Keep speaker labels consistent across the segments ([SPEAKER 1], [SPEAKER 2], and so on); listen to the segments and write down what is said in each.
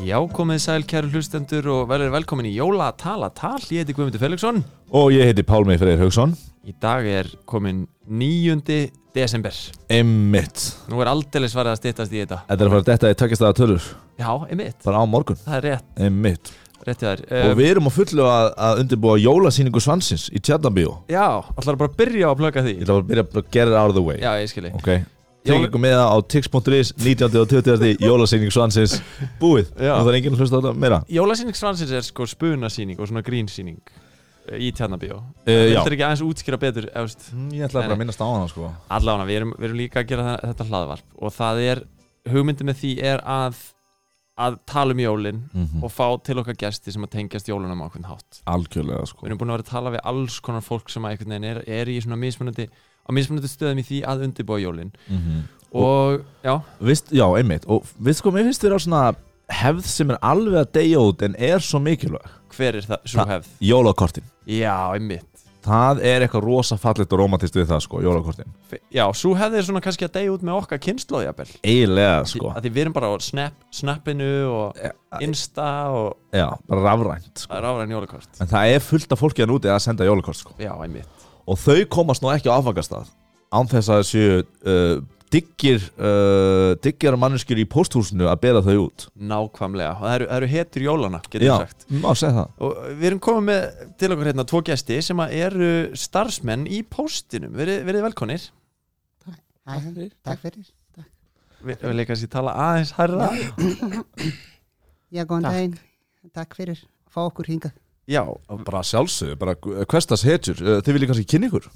[SPEAKER 1] Já, komið sæl kæru hlustendur og verður velkomin í Jóla tala tal, ég heiti Guðmundur Felixson
[SPEAKER 2] Og ég heiti Pálmi Freyr Haugsson
[SPEAKER 1] Í dag er komin 9. desember
[SPEAKER 2] Emmitt
[SPEAKER 1] Nú er aldeilis farið að styttast í þetta
[SPEAKER 2] Þetta er að fara þetta í takkistæða tölur
[SPEAKER 1] Já, einmitt,
[SPEAKER 2] Bara á morgun
[SPEAKER 1] það er rétt,
[SPEAKER 2] Emmitt
[SPEAKER 1] rétt hjá þér Um,
[SPEAKER 2] Og
[SPEAKER 1] við...
[SPEAKER 2] við erum á fullu að, að undirbúa jólasýningu svansins í Tjarnabíó
[SPEAKER 1] Já, ætlar bara að byrja á að plöka því
[SPEAKER 2] Ég ætla bara að byrja að get it out of the way
[SPEAKER 1] Já, ég skilji
[SPEAKER 2] Ok Tekið
[SPEAKER 1] Jóla-
[SPEAKER 2] ykkur með það á tix.is 19. og 20. jólasýningu svansins Búið
[SPEAKER 1] Já.
[SPEAKER 2] Og það er enginn að hlusta á þetta meira
[SPEAKER 1] Jólasýning Svansins er sko spunasýning og svona grínsýning eh, í Tjarnabíó
[SPEAKER 2] Eh, já.
[SPEAKER 1] Þetta er ekki aðeins útskýra betur, eh, efst
[SPEAKER 2] Mm, Ég ætla
[SPEAKER 1] Nei,
[SPEAKER 2] bara
[SPEAKER 1] nei.
[SPEAKER 2] að minnast á hana sko
[SPEAKER 1] Allána, við erum, við erum líka að gera þa- þetta hlaðvarp og það er, hugmyndin með því er að að tala um jólin
[SPEAKER 2] Mhm.
[SPEAKER 1] og fá til okkar gesti sem að tengjast jólunum á einhvern hátt.
[SPEAKER 2] Algjörlega
[SPEAKER 1] Við
[SPEAKER 2] sko
[SPEAKER 1] erum búin að vera að tala við alls konar fólk sem að einhvern veginn er, er í svona mismunandi á mismunandi stöðum í því að undirbúa jólin og já,
[SPEAKER 2] Mhm. Vist, Já, emmitt Og vist sko, mér finnst þér á svona hefð sem er alveg að deyja út en er svo mikilvæg
[SPEAKER 1] hver er það svo
[SPEAKER 2] Það-
[SPEAKER 1] hefð?
[SPEAKER 2] Jólakortin
[SPEAKER 1] Já, einmitt.
[SPEAKER 2] Það er eitthvað rosa fallegt og romantist við það sko, jólakortin
[SPEAKER 1] F- Já, svo hefð er svona kannski að deyja út með okkar kynnslóðjabel
[SPEAKER 2] Eiginlega sko
[SPEAKER 1] að því við erum bara á snap, snappinu og insta og
[SPEAKER 2] Já, bara rafrænt sko.
[SPEAKER 1] það er áræðin jólakort
[SPEAKER 2] En það er fullt af fólki hann úti að senda jólakort sko
[SPEAKER 1] Já, einmitt.
[SPEAKER 2] Og þau komast nú ekki á afangastað Án þess að þessu uh, diggir uh, diggjar manneskjur í pósthúsinu að bera þau út
[SPEAKER 1] Nákvæmlega. Og það eru, það eru hetur jólana, getur
[SPEAKER 2] Já,
[SPEAKER 1] við sagt.
[SPEAKER 2] má segja það
[SPEAKER 1] Og við erum komið með til okkur hérna tvo gesti sem að eru starfsmenn í póstinum. Verið, verið velkonir.
[SPEAKER 3] Hæ, takk fyrir. Takk fyrir.
[SPEAKER 1] Við við leika kannski tala aðeins hærra.
[SPEAKER 3] Já, góðan
[SPEAKER 1] Takk.
[SPEAKER 3] daginn. Takk fyrir. Fá okkur hingað.
[SPEAKER 1] Já,
[SPEAKER 2] Bara sjálfsög, bara hverstas hetjur uh, Þið viljið kannski kynni ykkur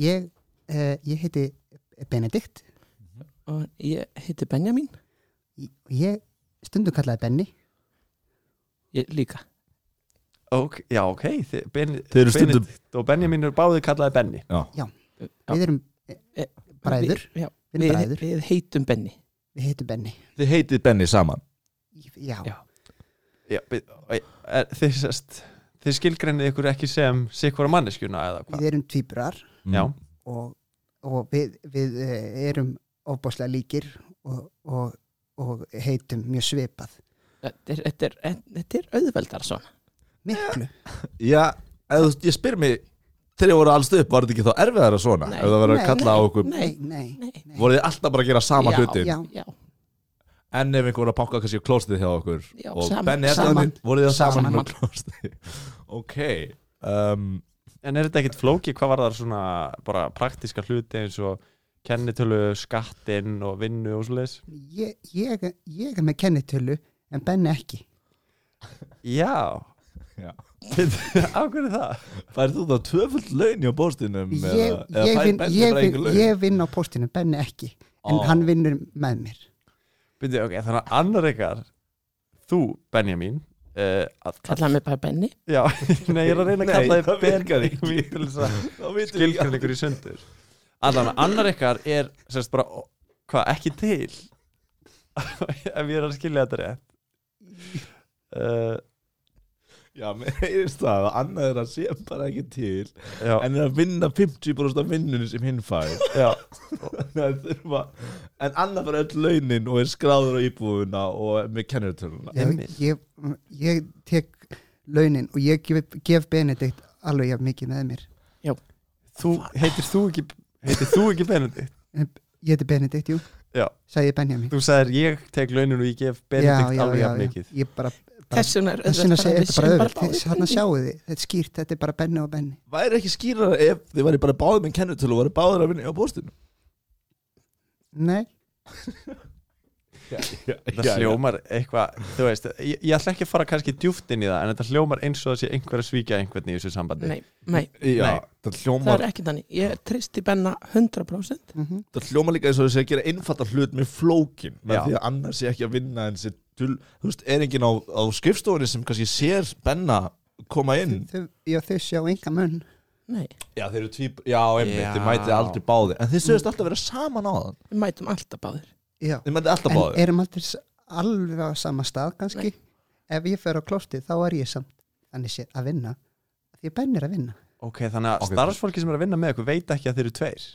[SPEAKER 3] Ég, uh, ég heiti Benedikt.
[SPEAKER 4] og ég heiti Benjamin
[SPEAKER 3] Ég- Ég stundum kallaði Benny.
[SPEAKER 4] ég, líka,
[SPEAKER 1] ok, já, ok. Þi- Ben,
[SPEAKER 2] Þeir eru stundum-
[SPEAKER 1] Benedikt og Benjamin eru báði kallaði Benni.
[SPEAKER 4] Já.
[SPEAKER 3] Við erum
[SPEAKER 4] Eh,
[SPEAKER 3] bræður.
[SPEAKER 4] við, já,
[SPEAKER 3] Við erum
[SPEAKER 4] við,
[SPEAKER 3] bræður.
[SPEAKER 4] við heitum Benny
[SPEAKER 3] Við heitum Benny.
[SPEAKER 2] Þið heitið Benny saman
[SPEAKER 3] Já,
[SPEAKER 4] Já.
[SPEAKER 1] Já, be- er- Þið, sest- þið skilgreinið ykkur ekki sem sikvara manneskjuna eða hvað?
[SPEAKER 3] við erum tvíbrar
[SPEAKER 2] Mm.
[SPEAKER 1] Já,
[SPEAKER 3] og, og við, við uh, erum ofbáslega líkir og, og, og heitum mjög svipað.
[SPEAKER 4] þetta er, þetta er, þetta er auðveldar svona
[SPEAKER 3] Miklu.
[SPEAKER 2] Já, eða, þú- ég spyr mig Þegar þið voru allstu upp, var þetta ekki þá erfiðara svona?
[SPEAKER 4] Nei.
[SPEAKER 2] Ef það verið að
[SPEAKER 3] Nei,
[SPEAKER 2] kalla á okkur
[SPEAKER 3] Nei, nei.
[SPEAKER 4] nei,
[SPEAKER 3] nei.
[SPEAKER 2] voruð þið alltaf bara að gera sama
[SPEAKER 4] Já,
[SPEAKER 2] hlutin
[SPEAKER 3] Já,
[SPEAKER 4] já,
[SPEAKER 2] en ef einhver var að banka kannski á klóstið hjá okkur
[SPEAKER 4] Já,
[SPEAKER 2] og
[SPEAKER 4] saman-
[SPEAKER 2] Benni er
[SPEAKER 4] saman.
[SPEAKER 2] þannig, voruð þið saman,
[SPEAKER 4] Saman.
[SPEAKER 2] saman. klóstið ok um,
[SPEAKER 1] en er þetta ekkit flókið? Hvað var það svona bara praktíska hluti eins og kennitölu, skattinn og vinnu og svo leiðis?
[SPEAKER 3] ég, ég, ég er með kennitölu en Benny ekki.
[SPEAKER 1] Já,
[SPEAKER 2] já.
[SPEAKER 1] á hverju það?
[SPEAKER 2] færðu þú þá tvöfullt laun hjá bóstinum
[SPEAKER 3] Ég,
[SPEAKER 2] eða, eða
[SPEAKER 3] ég,
[SPEAKER 2] fær
[SPEAKER 3] vinn,
[SPEAKER 2] Benni
[SPEAKER 3] ég,
[SPEAKER 2] bara
[SPEAKER 3] vinn,
[SPEAKER 2] engin laun?
[SPEAKER 3] ég vinn á póstinu, Benny ekki. En
[SPEAKER 2] Ó.
[SPEAKER 3] hann vinnur með mér.
[SPEAKER 1] Byrju, ok, þannig að annar ykkar þú, Benjamin uh, að
[SPEAKER 4] kallaði mig bara Benny
[SPEAKER 1] Já, nei, ég er að reyna að
[SPEAKER 2] Nei,
[SPEAKER 1] kalla
[SPEAKER 2] það
[SPEAKER 1] þið
[SPEAKER 2] virkar
[SPEAKER 1] Benjamin
[SPEAKER 2] ekki.
[SPEAKER 1] til þess að
[SPEAKER 2] Þá vitum við
[SPEAKER 1] skilgrin ykkur í sundur Allan, annar ykkar er sérst bara, ó, hvað, ekki til ef ég er að skilja þetta rétt uh,
[SPEAKER 2] já, mér heyrist það að annað er að sé bara ekki til
[SPEAKER 1] Já,
[SPEAKER 2] en er að vinna 50% af vinnunum sem hinn fær
[SPEAKER 1] já,
[SPEAKER 2] Þannig að þurfa, en annað fyrir öll launin og er skráður á íbúðuna og er með kennertöluna
[SPEAKER 3] ég,
[SPEAKER 1] Einmitt.
[SPEAKER 3] ég, ég tek launin og ég gef, gef Benedikt alveg jafn mikið með mér
[SPEAKER 1] þú, heitir þú ekki heitir þú ekki Benedikt?
[SPEAKER 3] ég heiti Benedikt, jú,
[SPEAKER 1] Já,
[SPEAKER 3] sagði Benjamin
[SPEAKER 1] þú sagðir ég tek launin og ég gef Benedikt alveg jafn mikið
[SPEAKER 3] ég bara,
[SPEAKER 4] þess vegna er
[SPEAKER 3] þess vegna
[SPEAKER 4] bara-
[SPEAKER 3] segir
[SPEAKER 4] við
[SPEAKER 3] þetta bara
[SPEAKER 4] séum
[SPEAKER 3] öðvöld
[SPEAKER 4] báðir
[SPEAKER 3] þannig að
[SPEAKER 4] Benny.
[SPEAKER 3] sjáu þið, þetta er skýrt þetta er bara Benni og Benni
[SPEAKER 2] væri ekki skýrara ef þið væri bara báðið með kennertölu og væri báðið að vinna hjá bóstinu
[SPEAKER 3] nei,
[SPEAKER 1] Það hljómar eitthvað, þú veist, ég, ég ætla ekki að fara kannski djúft inn í það, en þetta hljómar eins og það sé einhver að svíkja einhvern í þessu sambandi.
[SPEAKER 4] nei, nei,
[SPEAKER 2] Já,
[SPEAKER 1] Nei.
[SPEAKER 2] það
[SPEAKER 4] það er
[SPEAKER 2] hljómar,
[SPEAKER 4] ekki þannig ég tristi Benna 100%
[SPEAKER 3] mm
[SPEAKER 2] það hljómar líka eins og þess að gera innfattar hlut með flókin
[SPEAKER 1] Já.
[SPEAKER 2] með því að annars sé ekki að vinna en sér dul, þú veist, er enginn á, á skrifstofunni sem kannski sér benna koma inn
[SPEAKER 3] þau, já, þau sjá enga munn
[SPEAKER 4] nei,
[SPEAKER 2] Já, þeir eru tvíb, já, einmitt,
[SPEAKER 1] Já.
[SPEAKER 2] þið mætið aldrei báði en þeir sögust alltaf að vera saman á það
[SPEAKER 4] við mætum alltaf báðir
[SPEAKER 3] já.
[SPEAKER 2] þið mætið alltaf
[SPEAKER 3] en
[SPEAKER 2] báði
[SPEAKER 3] erum aldrei s- alveg á sama stað kannski ef ég fer á klostið þá er ég samt þannig sé að vinna því að Benni er að vinna
[SPEAKER 1] Ok, þannig að
[SPEAKER 2] Ok.
[SPEAKER 1] starfsfólki sem er að vinna með ykkur veit ekki að þeir eru tveir.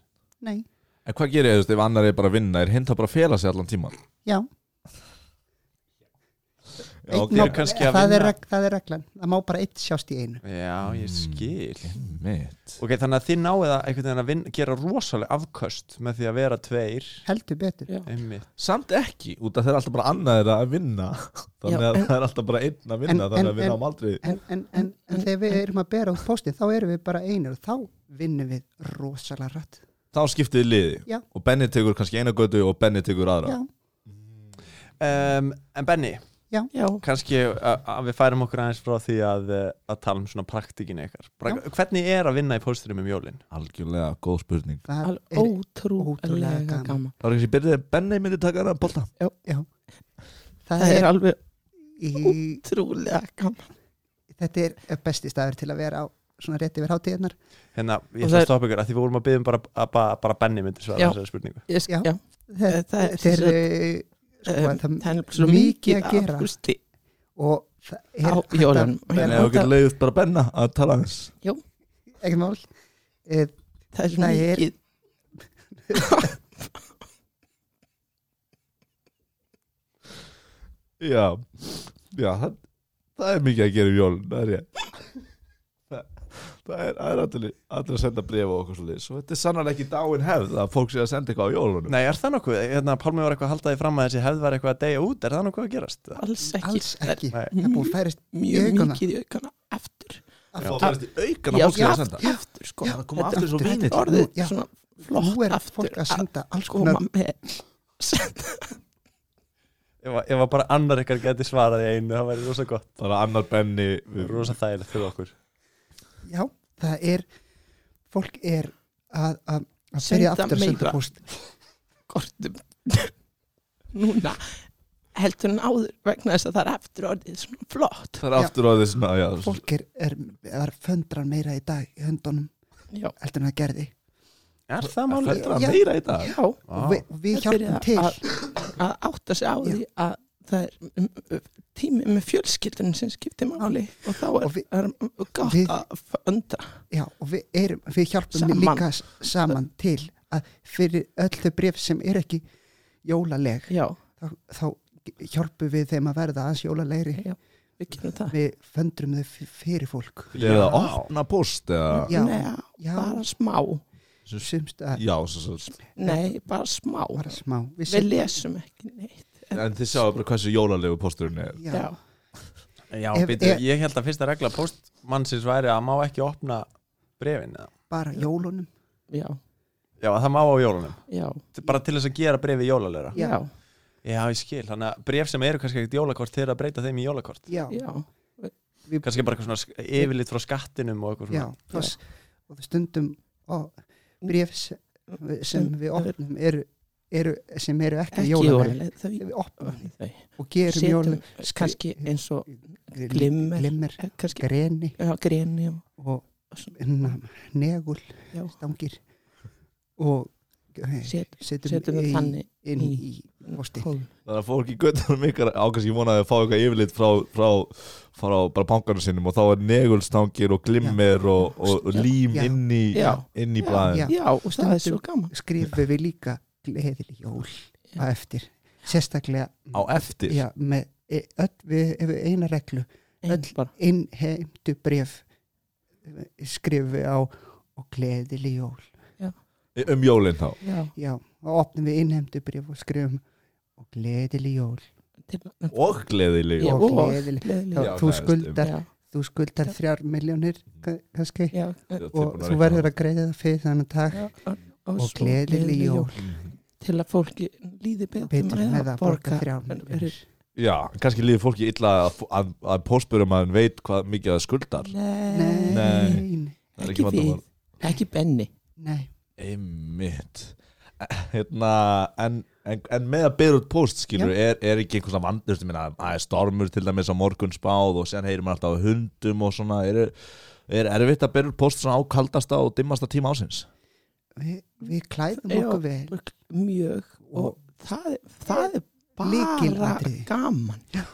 [SPEAKER 3] nei,
[SPEAKER 2] En hvað gerir ég, þú veist, ef annar er bara að vinna er hinn það bara að fela sig allan tíman
[SPEAKER 3] já
[SPEAKER 2] Já,
[SPEAKER 3] Einn
[SPEAKER 2] ok.
[SPEAKER 3] má-
[SPEAKER 1] Þið eru kannski að
[SPEAKER 3] það, er,
[SPEAKER 1] vinna.
[SPEAKER 3] reg- það er reglan, það má bara eitt sjást í einu
[SPEAKER 1] Já, ég
[SPEAKER 4] Mm.
[SPEAKER 1] skil
[SPEAKER 2] Einmitt.
[SPEAKER 1] Ok, þannig að þið náið að einhvern veginn að vinna, gera rosalega afköst með því að vera tveir
[SPEAKER 3] heldur betur
[SPEAKER 4] Já.
[SPEAKER 1] einmitt
[SPEAKER 2] Samt ekki, út af það er alltaf bara annað þeirra að vinna Þannig
[SPEAKER 4] Já,
[SPEAKER 2] að
[SPEAKER 4] en-
[SPEAKER 2] það er alltaf bara einn að vinna
[SPEAKER 3] en-
[SPEAKER 2] Þannig
[SPEAKER 3] en-
[SPEAKER 2] að við
[SPEAKER 3] en-
[SPEAKER 2] náum aldrei
[SPEAKER 3] en, en, en, en þegar við erum að bera út postin þá erum við bara einir og þá vinnum við rosalega rætt
[SPEAKER 2] Þá skiptið þið liði
[SPEAKER 3] Já.
[SPEAKER 2] Og Benni tekur kannski eina götu og Benni tekur aðra
[SPEAKER 3] já,
[SPEAKER 1] um, En Benni,
[SPEAKER 4] Já,
[SPEAKER 1] kannski að að við færum okkur aðeins frá því að, eh, að tala um svona praktikinu ykkar Bra- Hvernig er að vinna í pósturum um jólin?
[SPEAKER 2] Algjörlega góð spurning
[SPEAKER 3] það
[SPEAKER 4] al-
[SPEAKER 3] er ótrúlega
[SPEAKER 4] ótrúlega
[SPEAKER 3] gaman.
[SPEAKER 4] gaman
[SPEAKER 2] Það er kannski byrðið að Benni myndi taka hana bolta
[SPEAKER 3] það
[SPEAKER 4] Það er
[SPEAKER 3] er
[SPEAKER 4] alveg
[SPEAKER 3] í,
[SPEAKER 4] ótrúlega gaman
[SPEAKER 3] þetta er besti staður til að vera á svona rétt yfir hátíðarnar
[SPEAKER 1] Hérna, ég
[SPEAKER 4] Og
[SPEAKER 1] ætla að
[SPEAKER 4] það er-
[SPEAKER 1] stoppa ykkur að því við vorum að byggja um bara, að, bara, bara Benni myndi svara
[SPEAKER 4] Já.
[SPEAKER 1] þessari spurningu
[SPEAKER 4] Ég sk-
[SPEAKER 3] Já.
[SPEAKER 4] Já,
[SPEAKER 3] þetta,
[SPEAKER 4] það er
[SPEAKER 3] þetta er
[SPEAKER 4] sem
[SPEAKER 3] eh, sko,
[SPEAKER 4] um,
[SPEAKER 3] það,
[SPEAKER 4] það er svo
[SPEAKER 3] mikið
[SPEAKER 4] mikið
[SPEAKER 3] að
[SPEAKER 4] af
[SPEAKER 3] gera.
[SPEAKER 4] gústi
[SPEAKER 3] og það er
[SPEAKER 4] á
[SPEAKER 3] hægt að-
[SPEAKER 4] jólunum Og
[SPEAKER 2] Benni,
[SPEAKER 4] hérna
[SPEAKER 2] ef þú getur
[SPEAKER 4] það-
[SPEAKER 2] leiðið bara Benna að tala hans
[SPEAKER 3] ekkert mál Eh,
[SPEAKER 4] það er svo
[SPEAKER 3] það er-
[SPEAKER 4] mikið
[SPEAKER 2] Já, já það, það er mikið að gera um jólun Það er ég Það það er, það er allir, allir að senda bréfa og okkur svo liðs og þetta er sannlega ekki dáin hefð að fólk sé að senda eitthvað á jólunum
[SPEAKER 1] Nei, er það nokkuð? Hérna, Pálmi var eitthvað að halda því fram að þessi hefð var eitthvað að deyja út, er það nokkuð að gerast?
[SPEAKER 4] alls ekki
[SPEAKER 3] alls
[SPEAKER 4] Það er
[SPEAKER 3] ekki,
[SPEAKER 1] Nei.
[SPEAKER 3] það er búið að færast
[SPEAKER 4] mjög
[SPEAKER 3] aukana.
[SPEAKER 4] mikið í aukana aftur
[SPEAKER 2] Það færist í aukan að
[SPEAKER 4] Já,
[SPEAKER 2] fólk sé að
[SPEAKER 4] aftur,
[SPEAKER 2] senda
[SPEAKER 4] aftur sko
[SPEAKER 2] hérna. Það koma
[SPEAKER 4] Þetta-
[SPEAKER 2] aftur svo
[SPEAKER 4] þetta
[SPEAKER 2] vinir
[SPEAKER 4] er orðið
[SPEAKER 3] Já.
[SPEAKER 4] svona
[SPEAKER 3] nú
[SPEAKER 4] flott
[SPEAKER 3] er
[SPEAKER 4] aftur
[SPEAKER 3] fólk að senda alls konar
[SPEAKER 4] koma með
[SPEAKER 1] Ef, að- ef að bara annar ykkar geti svarað í einu, það væri rosa gott,
[SPEAKER 2] Það er annar Benni við
[SPEAKER 1] rosa þægilegt fyrir okkur.
[SPEAKER 3] já, það er fólk er að, að, að
[SPEAKER 4] Senda
[SPEAKER 3] byrja aftur að
[SPEAKER 4] meira.
[SPEAKER 3] senda post
[SPEAKER 4] kortum núna heldur en áður vegna þess að það er aftur orðið svona flott
[SPEAKER 2] Það er aftur á því svona, já,
[SPEAKER 3] fólk er, er, er föndran meira í dag í höndunum
[SPEAKER 4] já,
[SPEAKER 3] heldur en það gerði
[SPEAKER 1] Er það
[SPEAKER 2] það
[SPEAKER 1] málið?
[SPEAKER 2] fættur að
[SPEAKER 3] Já.
[SPEAKER 2] meira í dag.
[SPEAKER 4] já
[SPEAKER 3] og við, og við
[SPEAKER 4] Það
[SPEAKER 3] hjálpum
[SPEAKER 4] byrja
[SPEAKER 3] til
[SPEAKER 4] að, að átta sig á
[SPEAKER 3] Já.
[SPEAKER 4] því að það er um, um, tími með fjölskyldunum sem skiptir máli og þá er,
[SPEAKER 3] Og við-
[SPEAKER 4] er um, gott
[SPEAKER 3] við-
[SPEAKER 4] að föndra
[SPEAKER 3] já, og við, erum, við hjálpum
[SPEAKER 4] Saman.
[SPEAKER 3] líka s- saman til að fyrir öll þau bref sem er ekki jólaleg
[SPEAKER 4] já,
[SPEAKER 3] þá, þá hjálpum við þeim að verða aðeins jólalegri
[SPEAKER 4] já, við gerum það
[SPEAKER 3] við föndrum þau f- fyrir fólk
[SPEAKER 2] Það er að opna post eða,
[SPEAKER 3] já,
[SPEAKER 4] Nei,
[SPEAKER 3] já,
[SPEAKER 4] bara smá
[SPEAKER 3] sumst að
[SPEAKER 2] já, svo, svo,
[SPEAKER 4] nei, bara smá
[SPEAKER 3] bara smá við
[SPEAKER 4] við
[SPEAKER 3] sendum-
[SPEAKER 4] lesum ekki neitt en,
[SPEAKER 2] en þið sjáu bara hversu jólalegu posturinn er.
[SPEAKER 3] já,
[SPEAKER 4] já,
[SPEAKER 1] Já,
[SPEAKER 3] Ef-
[SPEAKER 1] býtu,
[SPEAKER 3] ef-
[SPEAKER 1] ég held að fyrsta regla postmannsins væri að má ekki opna brefin. Eða.
[SPEAKER 3] bara jólunum
[SPEAKER 4] já,
[SPEAKER 1] Já, að það má á jólunum.
[SPEAKER 4] já,
[SPEAKER 1] Bara til þess að gera brefi jólalera.
[SPEAKER 3] Já.
[SPEAKER 4] já,
[SPEAKER 1] Já, ég skil. Þannig að bref sem eru kannski ekkert jólakort þeir að breyta þeim í jólakort.
[SPEAKER 3] já,
[SPEAKER 4] já.
[SPEAKER 1] Kannski bara eitthvað svona sk- yfirlit frá skattinum og eitthvað
[SPEAKER 3] já,
[SPEAKER 1] svona.
[SPEAKER 3] já. og stundum og bref sem, sem við opnum eru, eru, sem eru ekki,
[SPEAKER 4] Mm. ekki
[SPEAKER 3] jólaleg
[SPEAKER 4] jólaleg þau,
[SPEAKER 3] við opnum
[SPEAKER 4] þau
[SPEAKER 3] og gerum
[SPEAKER 4] setjum
[SPEAKER 3] jólum
[SPEAKER 4] kannski eins og glimmer.
[SPEAKER 3] glimmer
[SPEAKER 4] eh, kannski
[SPEAKER 3] greni
[SPEAKER 4] já, greni og,
[SPEAKER 3] og
[SPEAKER 4] og svona,
[SPEAKER 3] na- negul
[SPEAKER 4] já,
[SPEAKER 3] stangir og eh,
[SPEAKER 4] set,
[SPEAKER 3] setjum,
[SPEAKER 4] setjum
[SPEAKER 3] í,
[SPEAKER 4] við þannig
[SPEAKER 3] inn
[SPEAKER 4] í-
[SPEAKER 3] í postin
[SPEAKER 4] hól
[SPEAKER 2] Þannig að fólk í göttunum ykkar ákast ég vonaði að fá eitthvað yfirlit frá, frá, frá bara bankanum sinnum og þá er negulstangir og glimmer og, og, og lím
[SPEAKER 3] Já.
[SPEAKER 2] inn í,
[SPEAKER 4] Já.
[SPEAKER 2] inn í
[SPEAKER 4] Já.
[SPEAKER 2] blæðin.
[SPEAKER 4] Já, og það er svo gaman
[SPEAKER 3] skrifum við líka gleðileg jól
[SPEAKER 4] Já.
[SPEAKER 3] að eftir sérstaklega
[SPEAKER 2] Á eftir.
[SPEAKER 3] já, með e- öll, við hefur eina reglu
[SPEAKER 4] Öll bara
[SPEAKER 3] innheimtu bref skrifum við á og gleðileg jól
[SPEAKER 2] Um jólinn þá.
[SPEAKER 4] já,
[SPEAKER 3] já, og opnum við innheimtu bref og skrifum og gleðileg jól
[SPEAKER 4] til,
[SPEAKER 2] Og gleðileg.
[SPEAKER 4] Já,
[SPEAKER 3] og
[SPEAKER 4] og
[SPEAKER 3] gleðileg
[SPEAKER 4] gleðileg
[SPEAKER 3] Já,
[SPEAKER 4] jól.
[SPEAKER 2] Já,
[SPEAKER 3] þú
[SPEAKER 2] það er
[SPEAKER 3] skuldar,
[SPEAKER 4] já,
[SPEAKER 3] þú skuldar þrjár miljónir ka- kannski
[SPEAKER 4] já, eh,
[SPEAKER 3] og þú verður að greiða það fyrir þannig takk
[SPEAKER 4] já, og,
[SPEAKER 3] og
[SPEAKER 4] svo
[SPEAKER 3] gleðileg jól
[SPEAKER 4] til að fólki líði betur,
[SPEAKER 3] betur með að borga þrjár
[SPEAKER 4] en-
[SPEAKER 3] miljónir
[SPEAKER 2] Já, kannski líður fólki illa að, að, að postbyrjum að hann veit hvað mikið það skuldar.
[SPEAKER 4] nei,
[SPEAKER 2] Nei.
[SPEAKER 3] nei,
[SPEAKER 2] Það er
[SPEAKER 4] ekki
[SPEAKER 2] ekki vandamál.
[SPEAKER 4] við, ekki Benni
[SPEAKER 3] nei
[SPEAKER 2] Einmitt hérna, en, en, en með að byrja út post skilur, er, er ekki einhversa vandur minna, að er stormur til dæmis á morgun spáð og sen heyrir maður alltaf af hundum og svona er, er erfitt að byrja út post svona á kaldasta og dimmasta tíma ásins
[SPEAKER 3] við, við klæðum
[SPEAKER 4] Já.
[SPEAKER 3] okkur vel
[SPEAKER 4] mjög og
[SPEAKER 3] Og-
[SPEAKER 4] það, er- það er bara
[SPEAKER 3] Lykilatriði.
[SPEAKER 4] gaman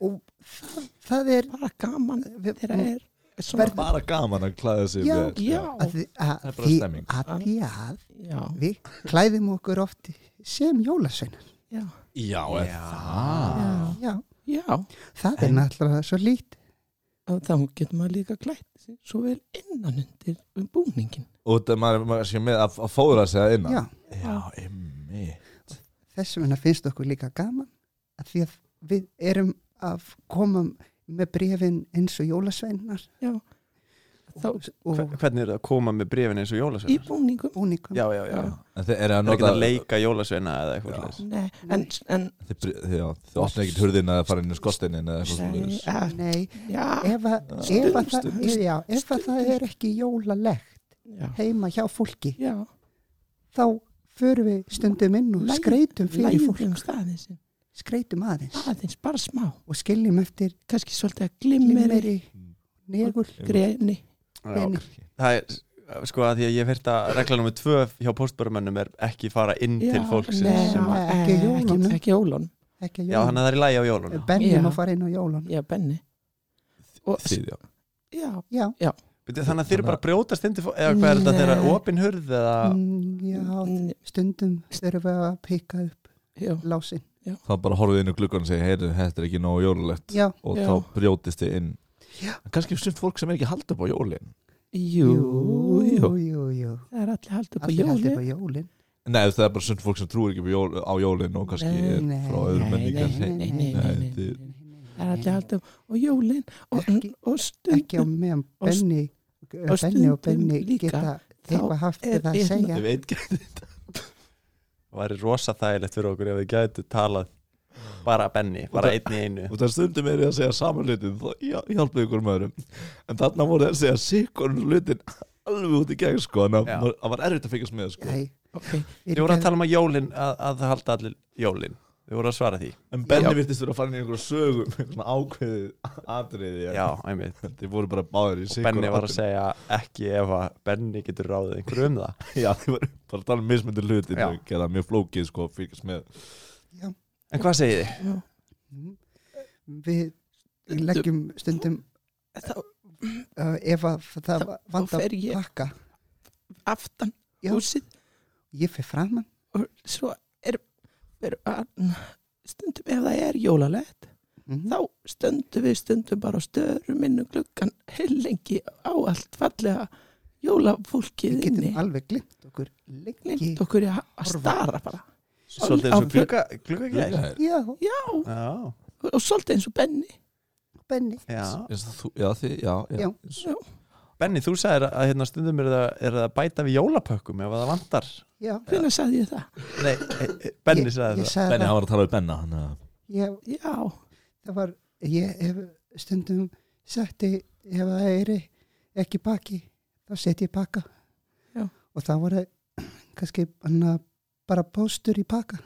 [SPEAKER 3] og það, það er
[SPEAKER 4] bara gaman
[SPEAKER 3] við-
[SPEAKER 4] þegar er
[SPEAKER 2] það er bara gaman að klæða sig
[SPEAKER 3] Já,
[SPEAKER 2] vel
[SPEAKER 4] já,
[SPEAKER 3] að, um því-
[SPEAKER 2] Það er
[SPEAKER 3] að,
[SPEAKER 2] bara
[SPEAKER 3] því,
[SPEAKER 2] stemming.
[SPEAKER 3] að því að
[SPEAKER 4] já,
[SPEAKER 3] við klæðum okkur oft sem jólasveinar
[SPEAKER 4] já,
[SPEAKER 2] já, er
[SPEAKER 1] Já.
[SPEAKER 2] það
[SPEAKER 3] já,
[SPEAKER 4] já, og
[SPEAKER 3] það er
[SPEAKER 2] En-
[SPEAKER 3] náttúrulega svo lít
[SPEAKER 4] þá getur maður líka klætt sig svo vel innan undir um búningin
[SPEAKER 2] og það maður, maður sé með að, að fóðra sig að innan
[SPEAKER 3] já,
[SPEAKER 2] já ymmi
[SPEAKER 3] þess vegna finnst okkur líka gaman að því að við erum að koma með brefin eins og jólasveinar
[SPEAKER 4] þá
[SPEAKER 3] og
[SPEAKER 1] Hvernig er það að koma með brefin eins og
[SPEAKER 4] í
[SPEAKER 1] jólasveinar?
[SPEAKER 4] búningum
[SPEAKER 3] búningum
[SPEAKER 1] Já, já, já
[SPEAKER 4] Já.
[SPEAKER 2] en þið eru
[SPEAKER 1] Það er
[SPEAKER 2] að
[SPEAKER 1] ekki
[SPEAKER 2] nota
[SPEAKER 1] að leika jólasveina eða eitthvað
[SPEAKER 2] Já.
[SPEAKER 1] leis
[SPEAKER 4] Nei, en, en
[SPEAKER 2] þið, br- þið, já, þið opna ekkert hurðin að fara inn í skorsteinin eða eitthvað
[SPEAKER 4] Nei,
[SPEAKER 2] svoleiðis.
[SPEAKER 4] eh,
[SPEAKER 3] nei,
[SPEAKER 4] já,
[SPEAKER 3] ef að,
[SPEAKER 4] Já.
[SPEAKER 3] ef að, það,
[SPEAKER 4] Stundum.
[SPEAKER 3] já, ef að það er ekki jólalegt
[SPEAKER 4] já,
[SPEAKER 3] heima hjá fólki
[SPEAKER 4] já
[SPEAKER 3] þá förum við stundum inn og
[SPEAKER 4] Lægjum-
[SPEAKER 3] skreitum fyrir
[SPEAKER 4] lægjum
[SPEAKER 3] fólk
[SPEAKER 4] um staðins
[SPEAKER 3] skreitum aðeins
[SPEAKER 4] aðeins, bara smá,
[SPEAKER 3] og skiljum eftir
[SPEAKER 4] kannski svolítið að glimmeri
[SPEAKER 3] glimmeri negul
[SPEAKER 4] greni,
[SPEAKER 1] Já. Það er sko að því að ég hef hýrt að regla nummið tvö hjá postbörumönnum er ekki fara inn til fólksins
[SPEAKER 4] nei,
[SPEAKER 1] sem að,
[SPEAKER 3] að- Ekki
[SPEAKER 4] eh,
[SPEAKER 3] jólunum.
[SPEAKER 4] ekki, ekki jólun,
[SPEAKER 3] ekki
[SPEAKER 1] Já, þannig
[SPEAKER 3] jólun
[SPEAKER 1] að það er í lægi á jólunum
[SPEAKER 3] bennum
[SPEAKER 4] Já.
[SPEAKER 3] að fara inn á jólun
[SPEAKER 4] já, benni og,
[SPEAKER 2] þið já
[SPEAKER 4] já,
[SPEAKER 3] já,
[SPEAKER 1] Bíddu, Þannig að þeir eru bara að brjótast inn til fólk eða
[SPEAKER 4] Nei.
[SPEAKER 1] hvað er þetta þeirra opin hurð eða
[SPEAKER 3] mm, já
[SPEAKER 4] n-
[SPEAKER 3] stundum þurfum við að pikka upp
[SPEAKER 4] já,
[SPEAKER 3] lásin
[SPEAKER 2] þá bara horfið inn í gluggan og segja heyrðu, þetta er ekki nógu jólulegt
[SPEAKER 3] já,
[SPEAKER 2] og
[SPEAKER 4] Já.
[SPEAKER 2] þá brjótist þið inn
[SPEAKER 3] Já.
[SPEAKER 2] En kannski er sumt fólk sem er ekki haldið upp á jólin
[SPEAKER 4] jú, jú
[SPEAKER 3] jú, jú, jú.
[SPEAKER 4] það er allir haldið upp á
[SPEAKER 3] allir
[SPEAKER 4] jólun
[SPEAKER 3] heldur upp á jólin
[SPEAKER 2] nei, það er bara sumt fólk sem trúir ekki upp á jól, á jólin og kannski
[SPEAKER 4] Nei,
[SPEAKER 2] er
[SPEAKER 3] nei,
[SPEAKER 2] frá öðrum
[SPEAKER 4] nei,
[SPEAKER 2] menningar
[SPEAKER 4] nei, nei, nei,
[SPEAKER 2] Nei,
[SPEAKER 4] nei, nei,
[SPEAKER 2] þið-
[SPEAKER 4] nei. það er allir haldið upp á jólun og,
[SPEAKER 3] Ekki-
[SPEAKER 4] og
[SPEAKER 3] ekki á
[SPEAKER 4] stundum
[SPEAKER 3] meðan
[SPEAKER 4] Og
[SPEAKER 3] Benni
[SPEAKER 4] og
[SPEAKER 3] Benni og
[SPEAKER 4] stundum
[SPEAKER 3] Benni
[SPEAKER 4] líka,
[SPEAKER 3] geta
[SPEAKER 4] þá
[SPEAKER 3] eitthvað haft
[SPEAKER 4] er-
[SPEAKER 3] við það að
[SPEAKER 4] er-
[SPEAKER 3] segja
[SPEAKER 2] Ég veit ekki
[SPEAKER 1] væri rosa þægilegt fyrir okkur ef við gætu talað bara Benny, bara einn í einu
[SPEAKER 2] og það stundum er ég að segja saman hlutin þá já- hjálpið ykkur með öðrum en þarna voru þeir að segja sikkorn hlutin alveg út í gegn sko en
[SPEAKER 1] Já.
[SPEAKER 2] það það var erfitt að fylgjast með sko.
[SPEAKER 3] Æ,
[SPEAKER 4] okay.
[SPEAKER 1] Þið voru að tala um að jólin, að, að það halda allir jólin Þið voru að svara því
[SPEAKER 2] en Benni
[SPEAKER 4] Já.
[SPEAKER 2] virtist vera að fara inn í einhverju sögu með svona ákveðið atriði
[SPEAKER 1] Já, einmitt
[SPEAKER 2] þeir voru bara báðir í
[SPEAKER 1] Og
[SPEAKER 2] sikkorn
[SPEAKER 1] Benni var að segja ekki ef að Benni getur ráðið einhverju um það
[SPEAKER 2] já, þeir voru bara að tala um mismöndu hlutin
[SPEAKER 1] Já.
[SPEAKER 2] og gera mjög flókið sko að fylgjast með
[SPEAKER 1] En hvað segið þið?
[SPEAKER 4] já.
[SPEAKER 3] Mm. við leggjum stundum
[SPEAKER 4] þá
[SPEAKER 3] uh, ef að það
[SPEAKER 4] Þá- þá
[SPEAKER 3] vanda
[SPEAKER 4] fer ég.
[SPEAKER 3] pakka
[SPEAKER 4] aftan
[SPEAKER 3] Já.
[SPEAKER 4] húsið
[SPEAKER 3] ég fer framann
[SPEAKER 4] og svo er, er að, stundum ef það er jólalegt
[SPEAKER 3] mm.
[SPEAKER 4] þá stöndum við stundum bara á um störum inn og gluggan heilengi á allt fallega jólafólkið
[SPEAKER 3] við getum
[SPEAKER 4] inni
[SPEAKER 3] alveg glimt okkur lengi
[SPEAKER 4] nýtt okkur í að- að
[SPEAKER 3] Horfa.
[SPEAKER 4] stara bara
[SPEAKER 1] Svolítið eins og glugga, glugga
[SPEAKER 2] Gluggaðir.
[SPEAKER 3] já,
[SPEAKER 4] já,
[SPEAKER 1] Já,
[SPEAKER 4] og svolítið eins og Benni
[SPEAKER 3] Benni
[SPEAKER 1] já
[SPEAKER 2] Eins og þú- já, þið, já, já.
[SPEAKER 3] Já.
[SPEAKER 4] já,
[SPEAKER 1] Benni, þú sagðir að hérna, stundum er það, er það að bæta við jólapökkum ef að það vantar
[SPEAKER 3] já,
[SPEAKER 4] hvernig sagði ég það?
[SPEAKER 1] Nei, e, e, Benni
[SPEAKER 3] Ég-
[SPEAKER 1] sagði
[SPEAKER 3] ég
[SPEAKER 1] það
[SPEAKER 3] sagði
[SPEAKER 2] Benni,
[SPEAKER 3] það
[SPEAKER 2] hann var að tala um Benna hann að
[SPEAKER 3] ég,
[SPEAKER 4] já,
[SPEAKER 3] það var, ég hef stundum sagt í- ef það er ekki pakki þá set ég pakka
[SPEAKER 4] Já.
[SPEAKER 3] og það voru kannski anna, bara póstur í pakka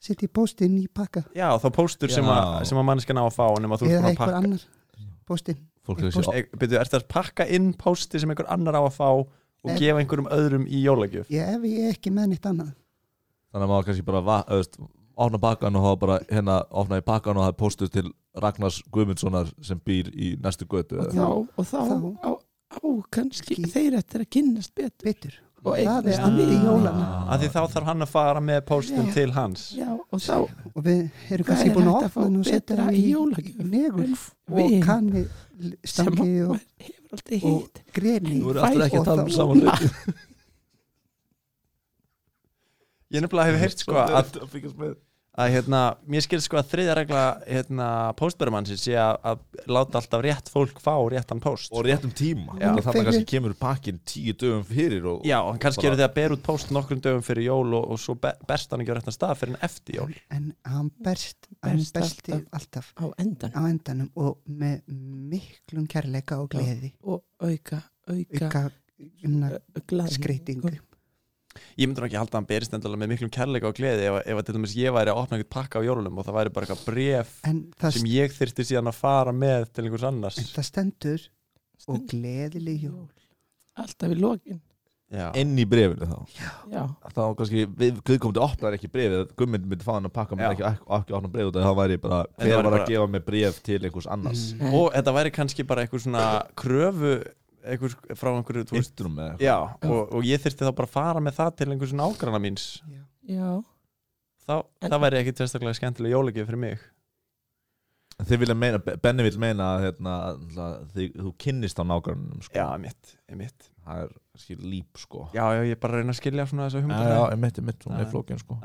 [SPEAKER 3] set ég póstinn í pakka
[SPEAKER 1] Já, þá póstur sem,
[SPEAKER 2] Já.
[SPEAKER 1] að, sem að manneskan á að fá nema þú ert
[SPEAKER 3] eða
[SPEAKER 1] búin að
[SPEAKER 3] einhver
[SPEAKER 1] pakka eh,
[SPEAKER 3] annar póstinn
[SPEAKER 2] fólk er
[SPEAKER 3] Ég
[SPEAKER 2] þessi
[SPEAKER 1] Byrju, ertu að pakka inn pósti sem einhver annar á að fá og
[SPEAKER 3] Nei.
[SPEAKER 1] gefa einhverjum öðrum í jólagjöf
[SPEAKER 3] ég, ef ég er ekki með nýtt annað
[SPEAKER 2] þannig að maður kannski bara va- þú veist, opna pakkan og hafa bara hérna opnaði pakkan og hafa póstur til Ragnars Guðmundssonar sem býr í næstu götu eða-
[SPEAKER 3] Og
[SPEAKER 4] þá og þá,
[SPEAKER 3] Þá.
[SPEAKER 4] á, á kannski
[SPEAKER 3] Ekki.
[SPEAKER 4] þeir eftir að kynnast betur
[SPEAKER 3] betur,
[SPEAKER 4] og
[SPEAKER 3] það er
[SPEAKER 4] eignast
[SPEAKER 1] andi
[SPEAKER 3] andið í
[SPEAKER 4] vini.
[SPEAKER 3] jólana
[SPEAKER 2] Ah.
[SPEAKER 1] að því þá þarf hann að fara með póstum
[SPEAKER 4] Já.
[SPEAKER 1] til hans
[SPEAKER 4] já, og þá
[SPEAKER 3] og við erum
[SPEAKER 4] Hvað
[SPEAKER 3] kannski
[SPEAKER 4] er
[SPEAKER 3] búin að
[SPEAKER 4] hægt að
[SPEAKER 3] opna
[SPEAKER 4] fá
[SPEAKER 3] hann og setja
[SPEAKER 4] betra
[SPEAKER 3] það
[SPEAKER 4] í jólagjöf?
[SPEAKER 3] negul og
[SPEAKER 4] vin
[SPEAKER 3] kanni
[SPEAKER 4] sem
[SPEAKER 3] stangi og
[SPEAKER 4] maður hefur aldrei
[SPEAKER 3] og-
[SPEAKER 4] hitt
[SPEAKER 3] greni
[SPEAKER 2] Þú eru aftur ekki að tala um
[SPEAKER 3] Og þá-
[SPEAKER 2] saman hluti
[SPEAKER 1] ég nefnilega hef heyrt sko að
[SPEAKER 2] að fylgjast með
[SPEAKER 1] að hérna, mér skilst sko að þriðja regla hérna, póstbærumannsins sé að, að láta alltaf rétt fólk fá réttan póst
[SPEAKER 2] og rétt um tíma
[SPEAKER 1] Já.
[SPEAKER 2] þannig að kannski kemur pakkin tíu dögum fyrir og
[SPEAKER 1] já, en kannski
[SPEAKER 2] Bara-
[SPEAKER 1] eru þið að bera út póst nokkrum dögum fyrir jól og, og svo be berst hann ekki á réttan stað fyrir en eftir jól
[SPEAKER 3] en hann berst, hann
[SPEAKER 4] Berst
[SPEAKER 3] bersti alltaf
[SPEAKER 4] á endan
[SPEAKER 3] á endanum og með miklum kærleika og gleði
[SPEAKER 4] og auka, auka
[SPEAKER 3] ykkar
[SPEAKER 4] glæðin
[SPEAKER 3] skreitingu
[SPEAKER 1] ég myndur ekki halda að hann berist endala með miklum kærleika og gleði ef, ef að til dæmis ég væri að opna einhvern pakka á jólunum og það væri bara eitthvað bref
[SPEAKER 3] en það,
[SPEAKER 1] sem ég þyrfti síðan að fara með til einhvers annars
[SPEAKER 3] en það stendur og gleðileg jól
[SPEAKER 4] alltaf í lokin
[SPEAKER 1] já,
[SPEAKER 2] inn í brefinu þá
[SPEAKER 4] já,
[SPEAKER 2] þá kannski við Guðkomandi opnar ekki brefið Guðmund myndi fá hann að pakka
[SPEAKER 1] Já.
[SPEAKER 2] hann ekki, ekki opna brefið þá væri bara
[SPEAKER 1] Þetta
[SPEAKER 2] hver
[SPEAKER 1] væri
[SPEAKER 2] var
[SPEAKER 1] bara-
[SPEAKER 2] að gefa mig bref til einhvers annars
[SPEAKER 3] Mm.
[SPEAKER 4] Nei.
[SPEAKER 1] og þetta væri kannski bara einhver svona kröfu einhver, frá einhverju þú veist,
[SPEAKER 2] Yttrum eða eitthvað.
[SPEAKER 1] Já, og, og ég þyrfti þá bara að fara með það til einhversu nágrana míns
[SPEAKER 3] Já.
[SPEAKER 4] já
[SPEAKER 1] þá,
[SPEAKER 4] En-
[SPEAKER 1] það væri ekkit sérstaklega skemmtilega jólagjöf fyrir mig
[SPEAKER 2] Þið vilja meina, Benni vil meina að hérna, náttúrulega, þið, þú kynnist á nágrannum sko.
[SPEAKER 1] já, mitt, mitt
[SPEAKER 2] það er skil líp sko
[SPEAKER 1] já, já, ég er bara að reyna að skilja svona þessa
[SPEAKER 2] já,
[SPEAKER 1] humdra
[SPEAKER 2] já, emitt, emitt, hún
[SPEAKER 1] Já.
[SPEAKER 2] er flókin sko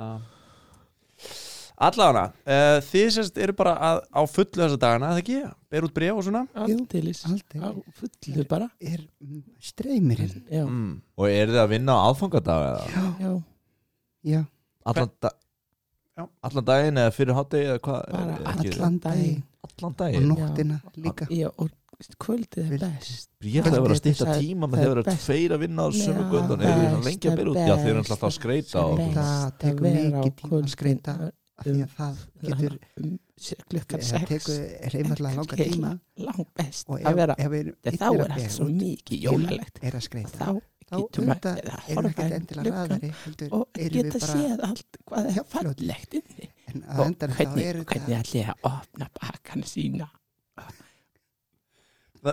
[SPEAKER 1] Allána, uh, þið sérst eru bara að, á fullu þessa dagana, eða ekki? Ber út bregð og svona
[SPEAKER 4] Aldeilis
[SPEAKER 3] aldrei
[SPEAKER 4] Á fullu bara
[SPEAKER 3] er mm, streymirinn
[SPEAKER 4] Já,
[SPEAKER 1] mm.
[SPEAKER 2] og er þið að vinna á aðfangadag eða?
[SPEAKER 3] já,
[SPEAKER 4] já
[SPEAKER 3] já,
[SPEAKER 2] allan, da
[SPEAKER 1] Já.
[SPEAKER 2] allan daginn eða fyrir hátdegi eða hvað Er-
[SPEAKER 4] Bara
[SPEAKER 2] er ekki-
[SPEAKER 3] allan daginn
[SPEAKER 2] allan
[SPEAKER 3] og
[SPEAKER 2] daginn
[SPEAKER 3] nóttina líka
[SPEAKER 4] Já, og kvöldið er best
[SPEAKER 2] ég ætlaði að vera að stýta
[SPEAKER 4] Það-
[SPEAKER 2] tíma
[SPEAKER 4] það
[SPEAKER 2] með
[SPEAKER 4] er
[SPEAKER 2] þið vera
[SPEAKER 4] best.
[SPEAKER 2] tveir að vinna á
[SPEAKER 4] Já,
[SPEAKER 2] sömu göndun eða þið
[SPEAKER 4] best,
[SPEAKER 2] lengi að byrja út
[SPEAKER 4] það
[SPEAKER 2] já
[SPEAKER 4] er
[SPEAKER 2] þið eru
[SPEAKER 4] best,
[SPEAKER 2] alltaf að skreita
[SPEAKER 4] það er
[SPEAKER 2] og
[SPEAKER 4] best.
[SPEAKER 3] það tekur mikið tíma að skreita af því að það getur
[SPEAKER 4] um, sjö- klukkan
[SPEAKER 3] það
[SPEAKER 4] sex
[SPEAKER 3] tekur reymarlega langa tíma
[SPEAKER 4] langt best
[SPEAKER 3] og
[SPEAKER 4] að vera
[SPEAKER 3] ef, ef við erum
[SPEAKER 4] þá
[SPEAKER 3] yllir að
[SPEAKER 4] er allt
[SPEAKER 3] bera
[SPEAKER 4] svo
[SPEAKER 3] út,
[SPEAKER 4] mikið jólalegt
[SPEAKER 3] er að skreita
[SPEAKER 4] þá
[SPEAKER 3] þá
[SPEAKER 4] getum við
[SPEAKER 3] auðvitað
[SPEAKER 4] verið að
[SPEAKER 3] erum við
[SPEAKER 4] horfa
[SPEAKER 3] ekki
[SPEAKER 4] í
[SPEAKER 3] endilega
[SPEAKER 4] gluggann
[SPEAKER 3] raðari heldur
[SPEAKER 4] og
[SPEAKER 3] erum við
[SPEAKER 4] geta
[SPEAKER 3] bara
[SPEAKER 4] séð allt hvað
[SPEAKER 3] Já,
[SPEAKER 4] er
[SPEAKER 3] fljót.
[SPEAKER 4] fallegt inni
[SPEAKER 3] en að
[SPEAKER 4] og
[SPEAKER 3] endanum þá
[SPEAKER 4] hvernig,
[SPEAKER 3] er
[SPEAKER 4] hvernig
[SPEAKER 3] þetta
[SPEAKER 4] ætli ég að opna bakana sína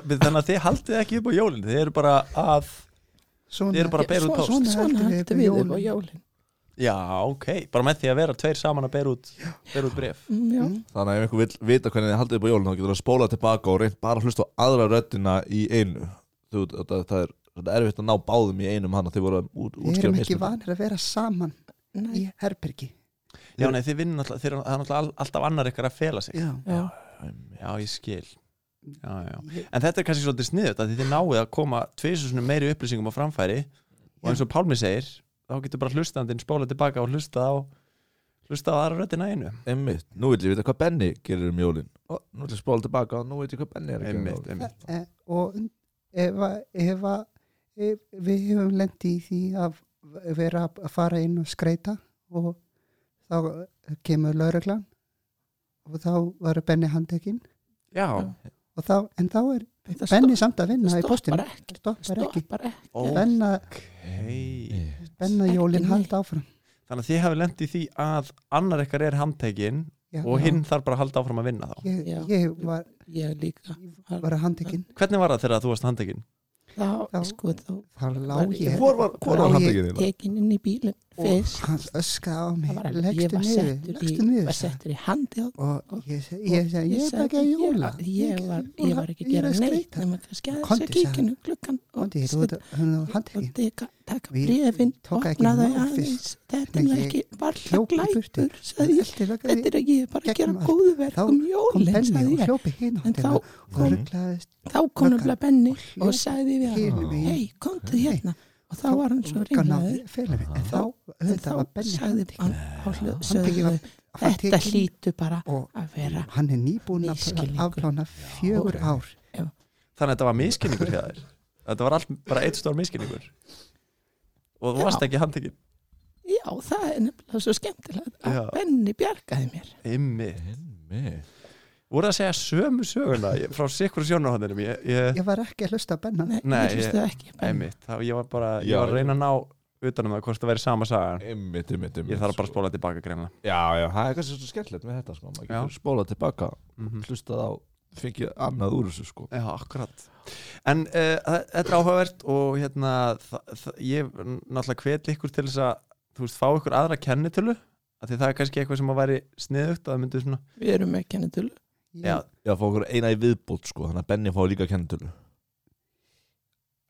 [SPEAKER 1] Þannig að þið haldið ekki upp á jólin Þið eru bara að Þið eru
[SPEAKER 3] svona,
[SPEAKER 1] bara að bera út
[SPEAKER 4] Svo-
[SPEAKER 1] post
[SPEAKER 4] svona,
[SPEAKER 3] Svona
[SPEAKER 4] svona
[SPEAKER 3] höldum við upp
[SPEAKER 4] hættum
[SPEAKER 3] á
[SPEAKER 4] við upp á
[SPEAKER 3] jólin.
[SPEAKER 4] jólin
[SPEAKER 1] Já, ok, bara með því að vera tveir saman að bera út, bera út bref
[SPEAKER 4] Mm, já.
[SPEAKER 3] Mm.
[SPEAKER 2] þannig að ef einhver vil vita hvernig þið haldið upp á jólun þá getur það spólað tilbaka og reynt bara að hlusta á aðra röddina í einu þú, veit, það, það, er, það er erfitt að ná báðum í einum hann að þið voru að út,
[SPEAKER 3] við
[SPEAKER 2] útskýra
[SPEAKER 3] erum ekki
[SPEAKER 2] mismunum.
[SPEAKER 3] vanir að vera saman
[SPEAKER 4] Nei,
[SPEAKER 3] í herbergi
[SPEAKER 1] Já, nei, þið vinnum alltaf, þið eru það er náttúrulega all- alltaf annar ykkar að fela sig
[SPEAKER 3] já,
[SPEAKER 4] já.
[SPEAKER 1] Já, ég skil já, já.
[SPEAKER 3] Ég-
[SPEAKER 1] En þetta er kannski svolítið sniðut að þið náið að koma tvisunum meiri upplýsingum á framfæri og eins og Pálmi segir, þá getur bara hlustandinn spóla tilbaka og hlusta á hlusta á aðra röddina einu
[SPEAKER 2] Einmitt, nú vil ég vita hvað Benni gerir um jólin og nú vil ég spóla tilbaka og nú veit ég hvað Benni er að gera um
[SPEAKER 1] einmitt,
[SPEAKER 2] jólin
[SPEAKER 1] einmitt.
[SPEAKER 3] Eh, og ef, að- ef, að- ef e- við höfum lendi í því að vera að fara inn og skreita og þá kemur lauruglan og þá var Benni handtekinn
[SPEAKER 1] Já,
[SPEAKER 3] og þá, en þá er
[SPEAKER 4] Þetta
[SPEAKER 3] Benni samt að vinna í
[SPEAKER 4] stoppar
[SPEAKER 3] postinu
[SPEAKER 4] ekki.
[SPEAKER 3] stoppar ekki,
[SPEAKER 4] stoppar ekki
[SPEAKER 3] Benna,
[SPEAKER 1] ok
[SPEAKER 3] Benna jólin halda áfram
[SPEAKER 1] Þannig að þið hafi lendið því að annar ykkar er handtekinn
[SPEAKER 3] Já,
[SPEAKER 1] og hinn þarf bara að halda áfram að vinna þá.
[SPEAKER 3] ég,
[SPEAKER 4] Já.
[SPEAKER 3] ég var,
[SPEAKER 4] ég líka
[SPEAKER 3] var handtekinn
[SPEAKER 1] Hvernig var það þegar þú varst handtekinn?
[SPEAKER 4] þá,
[SPEAKER 3] Þá-
[SPEAKER 4] sko, þá
[SPEAKER 3] þá lá
[SPEAKER 4] Var-
[SPEAKER 3] ég
[SPEAKER 2] Hvor var, hvor
[SPEAKER 3] Lá
[SPEAKER 2] var
[SPEAKER 3] ég-
[SPEAKER 2] handtökin þín?
[SPEAKER 4] tekin inn í bílinn
[SPEAKER 3] og
[SPEAKER 4] fyrst
[SPEAKER 3] hann öskaði á
[SPEAKER 4] Það
[SPEAKER 3] mig
[SPEAKER 4] var alveg- ég
[SPEAKER 3] leggstu
[SPEAKER 4] var
[SPEAKER 3] niður,
[SPEAKER 4] settur í,
[SPEAKER 3] leggstu niður
[SPEAKER 4] var
[SPEAKER 3] sagði hann.
[SPEAKER 4] settur í handi á
[SPEAKER 3] og ég segi, ég, seg, ég, er bara ekki að
[SPEAKER 4] sagði
[SPEAKER 3] jóla
[SPEAKER 4] ég, ég, var,
[SPEAKER 3] er
[SPEAKER 4] ég var ekki að gera
[SPEAKER 3] að
[SPEAKER 4] neitt
[SPEAKER 3] skreyta.
[SPEAKER 4] nema kannski
[SPEAKER 3] Komdu,
[SPEAKER 4] að þess að
[SPEAKER 3] sagði hann.
[SPEAKER 4] kíkinu klukkan
[SPEAKER 3] Kondi, þú
[SPEAKER 4] og
[SPEAKER 3] ert hann á
[SPEAKER 4] og
[SPEAKER 3] handtekinn
[SPEAKER 4] teka, taka
[SPEAKER 3] Við
[SPEAKER 4] brefin
[SPEAKER 3] tók ekki
[SPEAKER 4] opna þau
[SPEAKER 3] mál fyrst.
[SPEAKER 4] aðeins
[SPEAKER 3] Nei,
[SPEAKER 4] þetta er nú
[SPEAKER 3] ég
[SPEAKER 4] ekki varla
[SPEAKER 3] hljóp í burtu.
[SPEAKER 4] glæpur sagði ég, þetta er ekki ég er bara að
[SPEAKER 3] gegnum
[SPEAKER 4] gera
[SPEAKER 3] allt.
[SPEAKER 4] góðu verk
[SPEAKER 3] Þá
[SPEAKER 4] um
[SPEAKER 3] kom
[SPEAKER 4] jólin
[SPEAKER 3] Benni
[SPEAKER 4] sagði
[SPEAKER 3] og
[SPEAKER 4] ég
[SPEAKER 3] hljópi hinn
[SPEAKER 4] en þá
[SPEAKER 3] áttina og
[SPEAKER 2] kom-
[SPEAKER 3] rugglaðist
[SPEAKER 4] þá kom
[SPEAKER 3] Löggan.
[SPEAKER 4] nefnilega Benni
[SPEAKER 3] hljóp
[SPEAKER 4] og sagði
[SPEAKER 3] hinum
[SPEAKER 4] við hann
[SPEAKER 3] megin.
[SPEAKER 4] hei, komdu hérna og þá var hann svo
[SPEAKER 3] og náði
[SPEAKER 4] ringlaður
[SPEAKER 3] félag minn. En þá,
[SPEAKER 4] en
[SPEAKER 3] auðvitað var
[SPEAKER 4] þá
[SPEAKER 3] Benni
[SPEAKER 4] sagði hann á hljóð
[SPEAKER 3] Handtekinn
[SPEAKER 4] sögðu
[SPEAKER 3] var-
[SPEAKER 4] þau, þetta
[SPEAKER 3] handtekinn
[SPEAKER 4] hlýtu bara
[SPEAKER 3] og
[SPEAKER 4] að vera
[SPEAKER 3] hann er nýbúin að
[SPEAKER 4] Misskilningur.
[SPEAKER 3] afplána fjögur ár
[SPEAKER 1] Þannig að þetta var miskinningur hjá þér. Þetta var allt, bara eitt stór miskinningur. Og þú
[SPEAKER 4] Já.
[SPEAKER 1] varst ekki handtekinn.
[SPEAKER 4] já, það er nefnilega svo skemmtilegt að
[SPEAKER 1] Já.
[SPEAKER 4] Benni bjargaði mér
[SPEAKER 1] Immi.
[SPEAKER 2] Einmitt.
[SPEAKER 1] Voru að segja sömu söguna ég- frá sikkur sjónarhóndinum. Ég, ég,
[SPEAKER 3] ég var ekki að hlusta að Benna
[SPEAKER 4] nei,
[SPEAKER 1] Nei,
[SPEAKER 4] ég hlustu ekki á Benna.
[SPEAKER 1] Immi. Þá ég var bara, ég
[SPEAKER 2] Já.
[SPEAKER 1] var að reyna að ná utanum það hvort það væri sama saga.
[SPEAKER 2] Einmitt, einmitt, einmitt
[SPEAKER 1] Ég þarf bara að spóla tilbaka greinlega.
[SPEAKER 2] Já, já, það er kannski svo skemmtilegt með þetta sko maður
[SPEAKER 1] Já.
[SPEAKER 2] getur spólað tilbaka
[SPEAKER 1] Mm
[SPEAKER 2] hlustað á, fengið annað úr þessu sko
[SPEAKER 1] Já, akkurat En uh, þetta er áhugavert og hérna þa- þa- ég náttúrulega hvetli ykkur til þess að þú veist, fá ykkur aðra kennitölu af því það er kannski eitthvað sem að væri sniðugt að það myndi svona
[SPEAKER 4] við erum með kennitölu
[SPEAKER 3] Ég-
[SPEAKER 1] Já,
[SPEAKER 2] Já, fá okkur eina í viðbót sko þannig að Benni fá líka kennitölu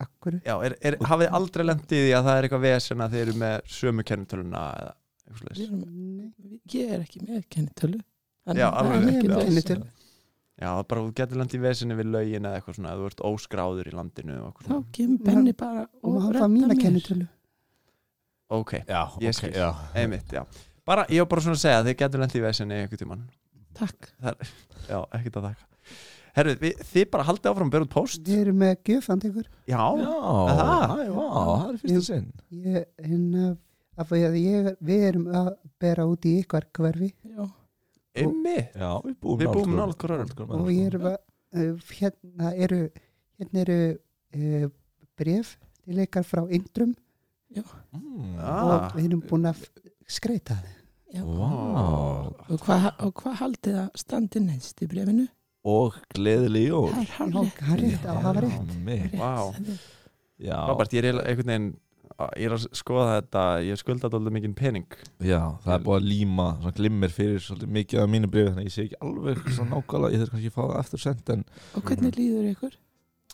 [SPEAKER 3] af hverju?
[SPEAKER 1] já er, er, hafið aldrei lendið í því að það er eitthvað vesen að þeir eru með sömu kennitöluna eða eitthvað
[SPEAKER 4] Við
[SPEAKER 1] slags
[SPEAKER 4] erum,
[SPEAKER 3] Nei.
[SPEAKER 4] ég er ekki með kennitölu
[SPEAKER 1] Já,
[SPEAKER 4] það er
[SPEAKER 1] alveg
[SPEAKER 4] ekki
[SPEAKER 3] rétt, já.
[SPEAKER 4] vesen.
[SPEAKER 3] Kennitölu.
[SPEAKER 1] Já, bara þú getur lendið í veseni við lögin eða eitthvað svona að þú ert óskráður í landinu og eitthvað
[SPEAKER 4] þá
[SPEAKER 1] svona
[SPEAKER 4] kemur Benni bara
[SPEAKER 3] og
[SPEAKER 4] og
[SPEAKER 3] hann
[SPEAKER 4] reddar
[SPEAKER 3] var mína
[SPEAKER 4] mér.
[SPEAKER 3] kennitölu
[SPEAKER 1] Ok,
[SPEAKER 2] Já,
[SPEAKER 1] Ég skil.
[SPEAKER 2] já.
[SPEAKER 1] einmitt, já bara, Ég var bara svona að segja að þið getur lendið í veseni einhvern tímann
[SPEAKER 4] takk,
[SPEAKER 1] Já, ekkert að þakka Herru, við- þið bara haldið áfram að bera út post
[SPEAKER 3] við erum með gjöfand ykkur
[SPEAKER 1] Já,
[SPEAKER 2] Já,
[SPEAKER 1] Aha.
[SPEAKER 2] æ, vá, það er fyrsta sinn
[SPEAKER 3] Ég- en að- af því að ég- við erum að bera út í ykkar hverfi
[SPEAKER 4] já,
[SPEAKER 1] Einmitt
[SPEAKER 2] Já, við búum
[SPEAKER 1] Við búum nálægt
[SPEAKER 2] nálægt
[SPEAKER 1] hvor öðrum.
[SPEAKER 2] nálægt hvor
[SPEAKER 3] og
[SPEAKER 2] öðrum,
[SPEAKER 3] ég er
[SPEAKER 2] sko.
[SPEAKER 3] bara, uh, hérna eru hérna eru uh, bref til ykkar frá yndrum
[SPEAKER 2] Mm.
[SPEAKER 1] Ah.
[SPEAKER 3] og við erum búin að f- skreita þið
[SPEAKER 4] já.
[SPEAKER 2] Vá
[SPEAKER 4] og hvað hva haldið að standi neðst í brefinu
[SPEAKER 2] Og gleðileg jól
[SPEAKER 4] það er
[SPEAKER 3] Já,
[SPEAKER 4] hálfrið
[SPEAKER 3] hann rétt á að hafa rétt
[SPEAKER 2] Já, mig.
[SPEAKER 1] Vá.
[SPEAKER 2] Já,
[SPEAKER 1] Robert, ég er eiginlega einhvern veginn að- ég er að skoða þetta ég skulda alltaf mikinn pening
[SPEAKER 2] Já, það er búið að líma svona glimmir fyrir svolítið mikið af mínu brífi þannig að ég sé ekki alveg svona nákvæmlega ég þarf kannski að fá það eftir sent en
[SPEAKER 4] og hvernig líður ykkur?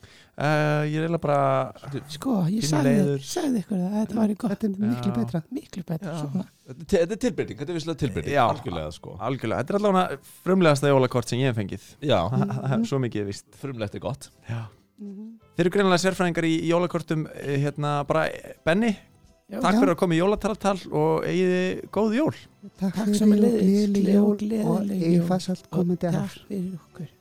[SPEAKER 1] uh, ég er eiginlega bara
[SPEAKER 4] Sko, ég
[SPEAKER 1] Pínu
[SPEAKER 4] sagði,
[SPEAKER 1] leiður.
[SPEAKER 4] sagði ykkur það, þetta var í gott
[SPEAKER 3] þetta er miklu
[SPEAKER 1] Já.
[SPEAKER 3] betra
[SPEAKER 4] miklu betra
[SPEAKER 1] Já.
[SPEAKER 4] svona
[SPEAKER 2] Þetta er til- þetta er tilbyrning, þetta er visslega tilbyrning
[SPEAKER 1] Já.
[SPEAKER 2] Algjörlega sko
[SPEAKER 1] algjörlega, þetta er allavega frumlegasta jólakort sem ég hef fengið
[SPEAKER 2] Já,
[SPEAKER 1] svo mikið er víst
[SPEAKER 2] frumlegt er gott
[SPEAKER 1] Já.
[SPEAKER 4] Mhm.
[SPEAKER 1] Þeir eru greinilega sérfræðingar í jólakortum eh, hérna bara eh, Benni,
[SPEAKER 4] Já.
[SPEAKER 1] takk
[SPEAKER 3] Já.
[SPEAKER 1] fyrir að koma í jólatalatal og eigiði góð jól
[SPEAKER 3] Takk
[SPEAKER 4] Takk
[SPEAKER 3] fyrir
[SPEAKER 4] sömuleiðis.
[SPEAKER 3] og gleðileg
[SPEAKER 4] Gleð og
[SPEAKER 3] jól og
[SPEAKER 4] gleðileg jól.
[SPEAKER 3] ég fannst allt komandi
[SPEAKER 4] og
[SPEAKER 3] ár
[SPEAKER 4] takk fyrir okkur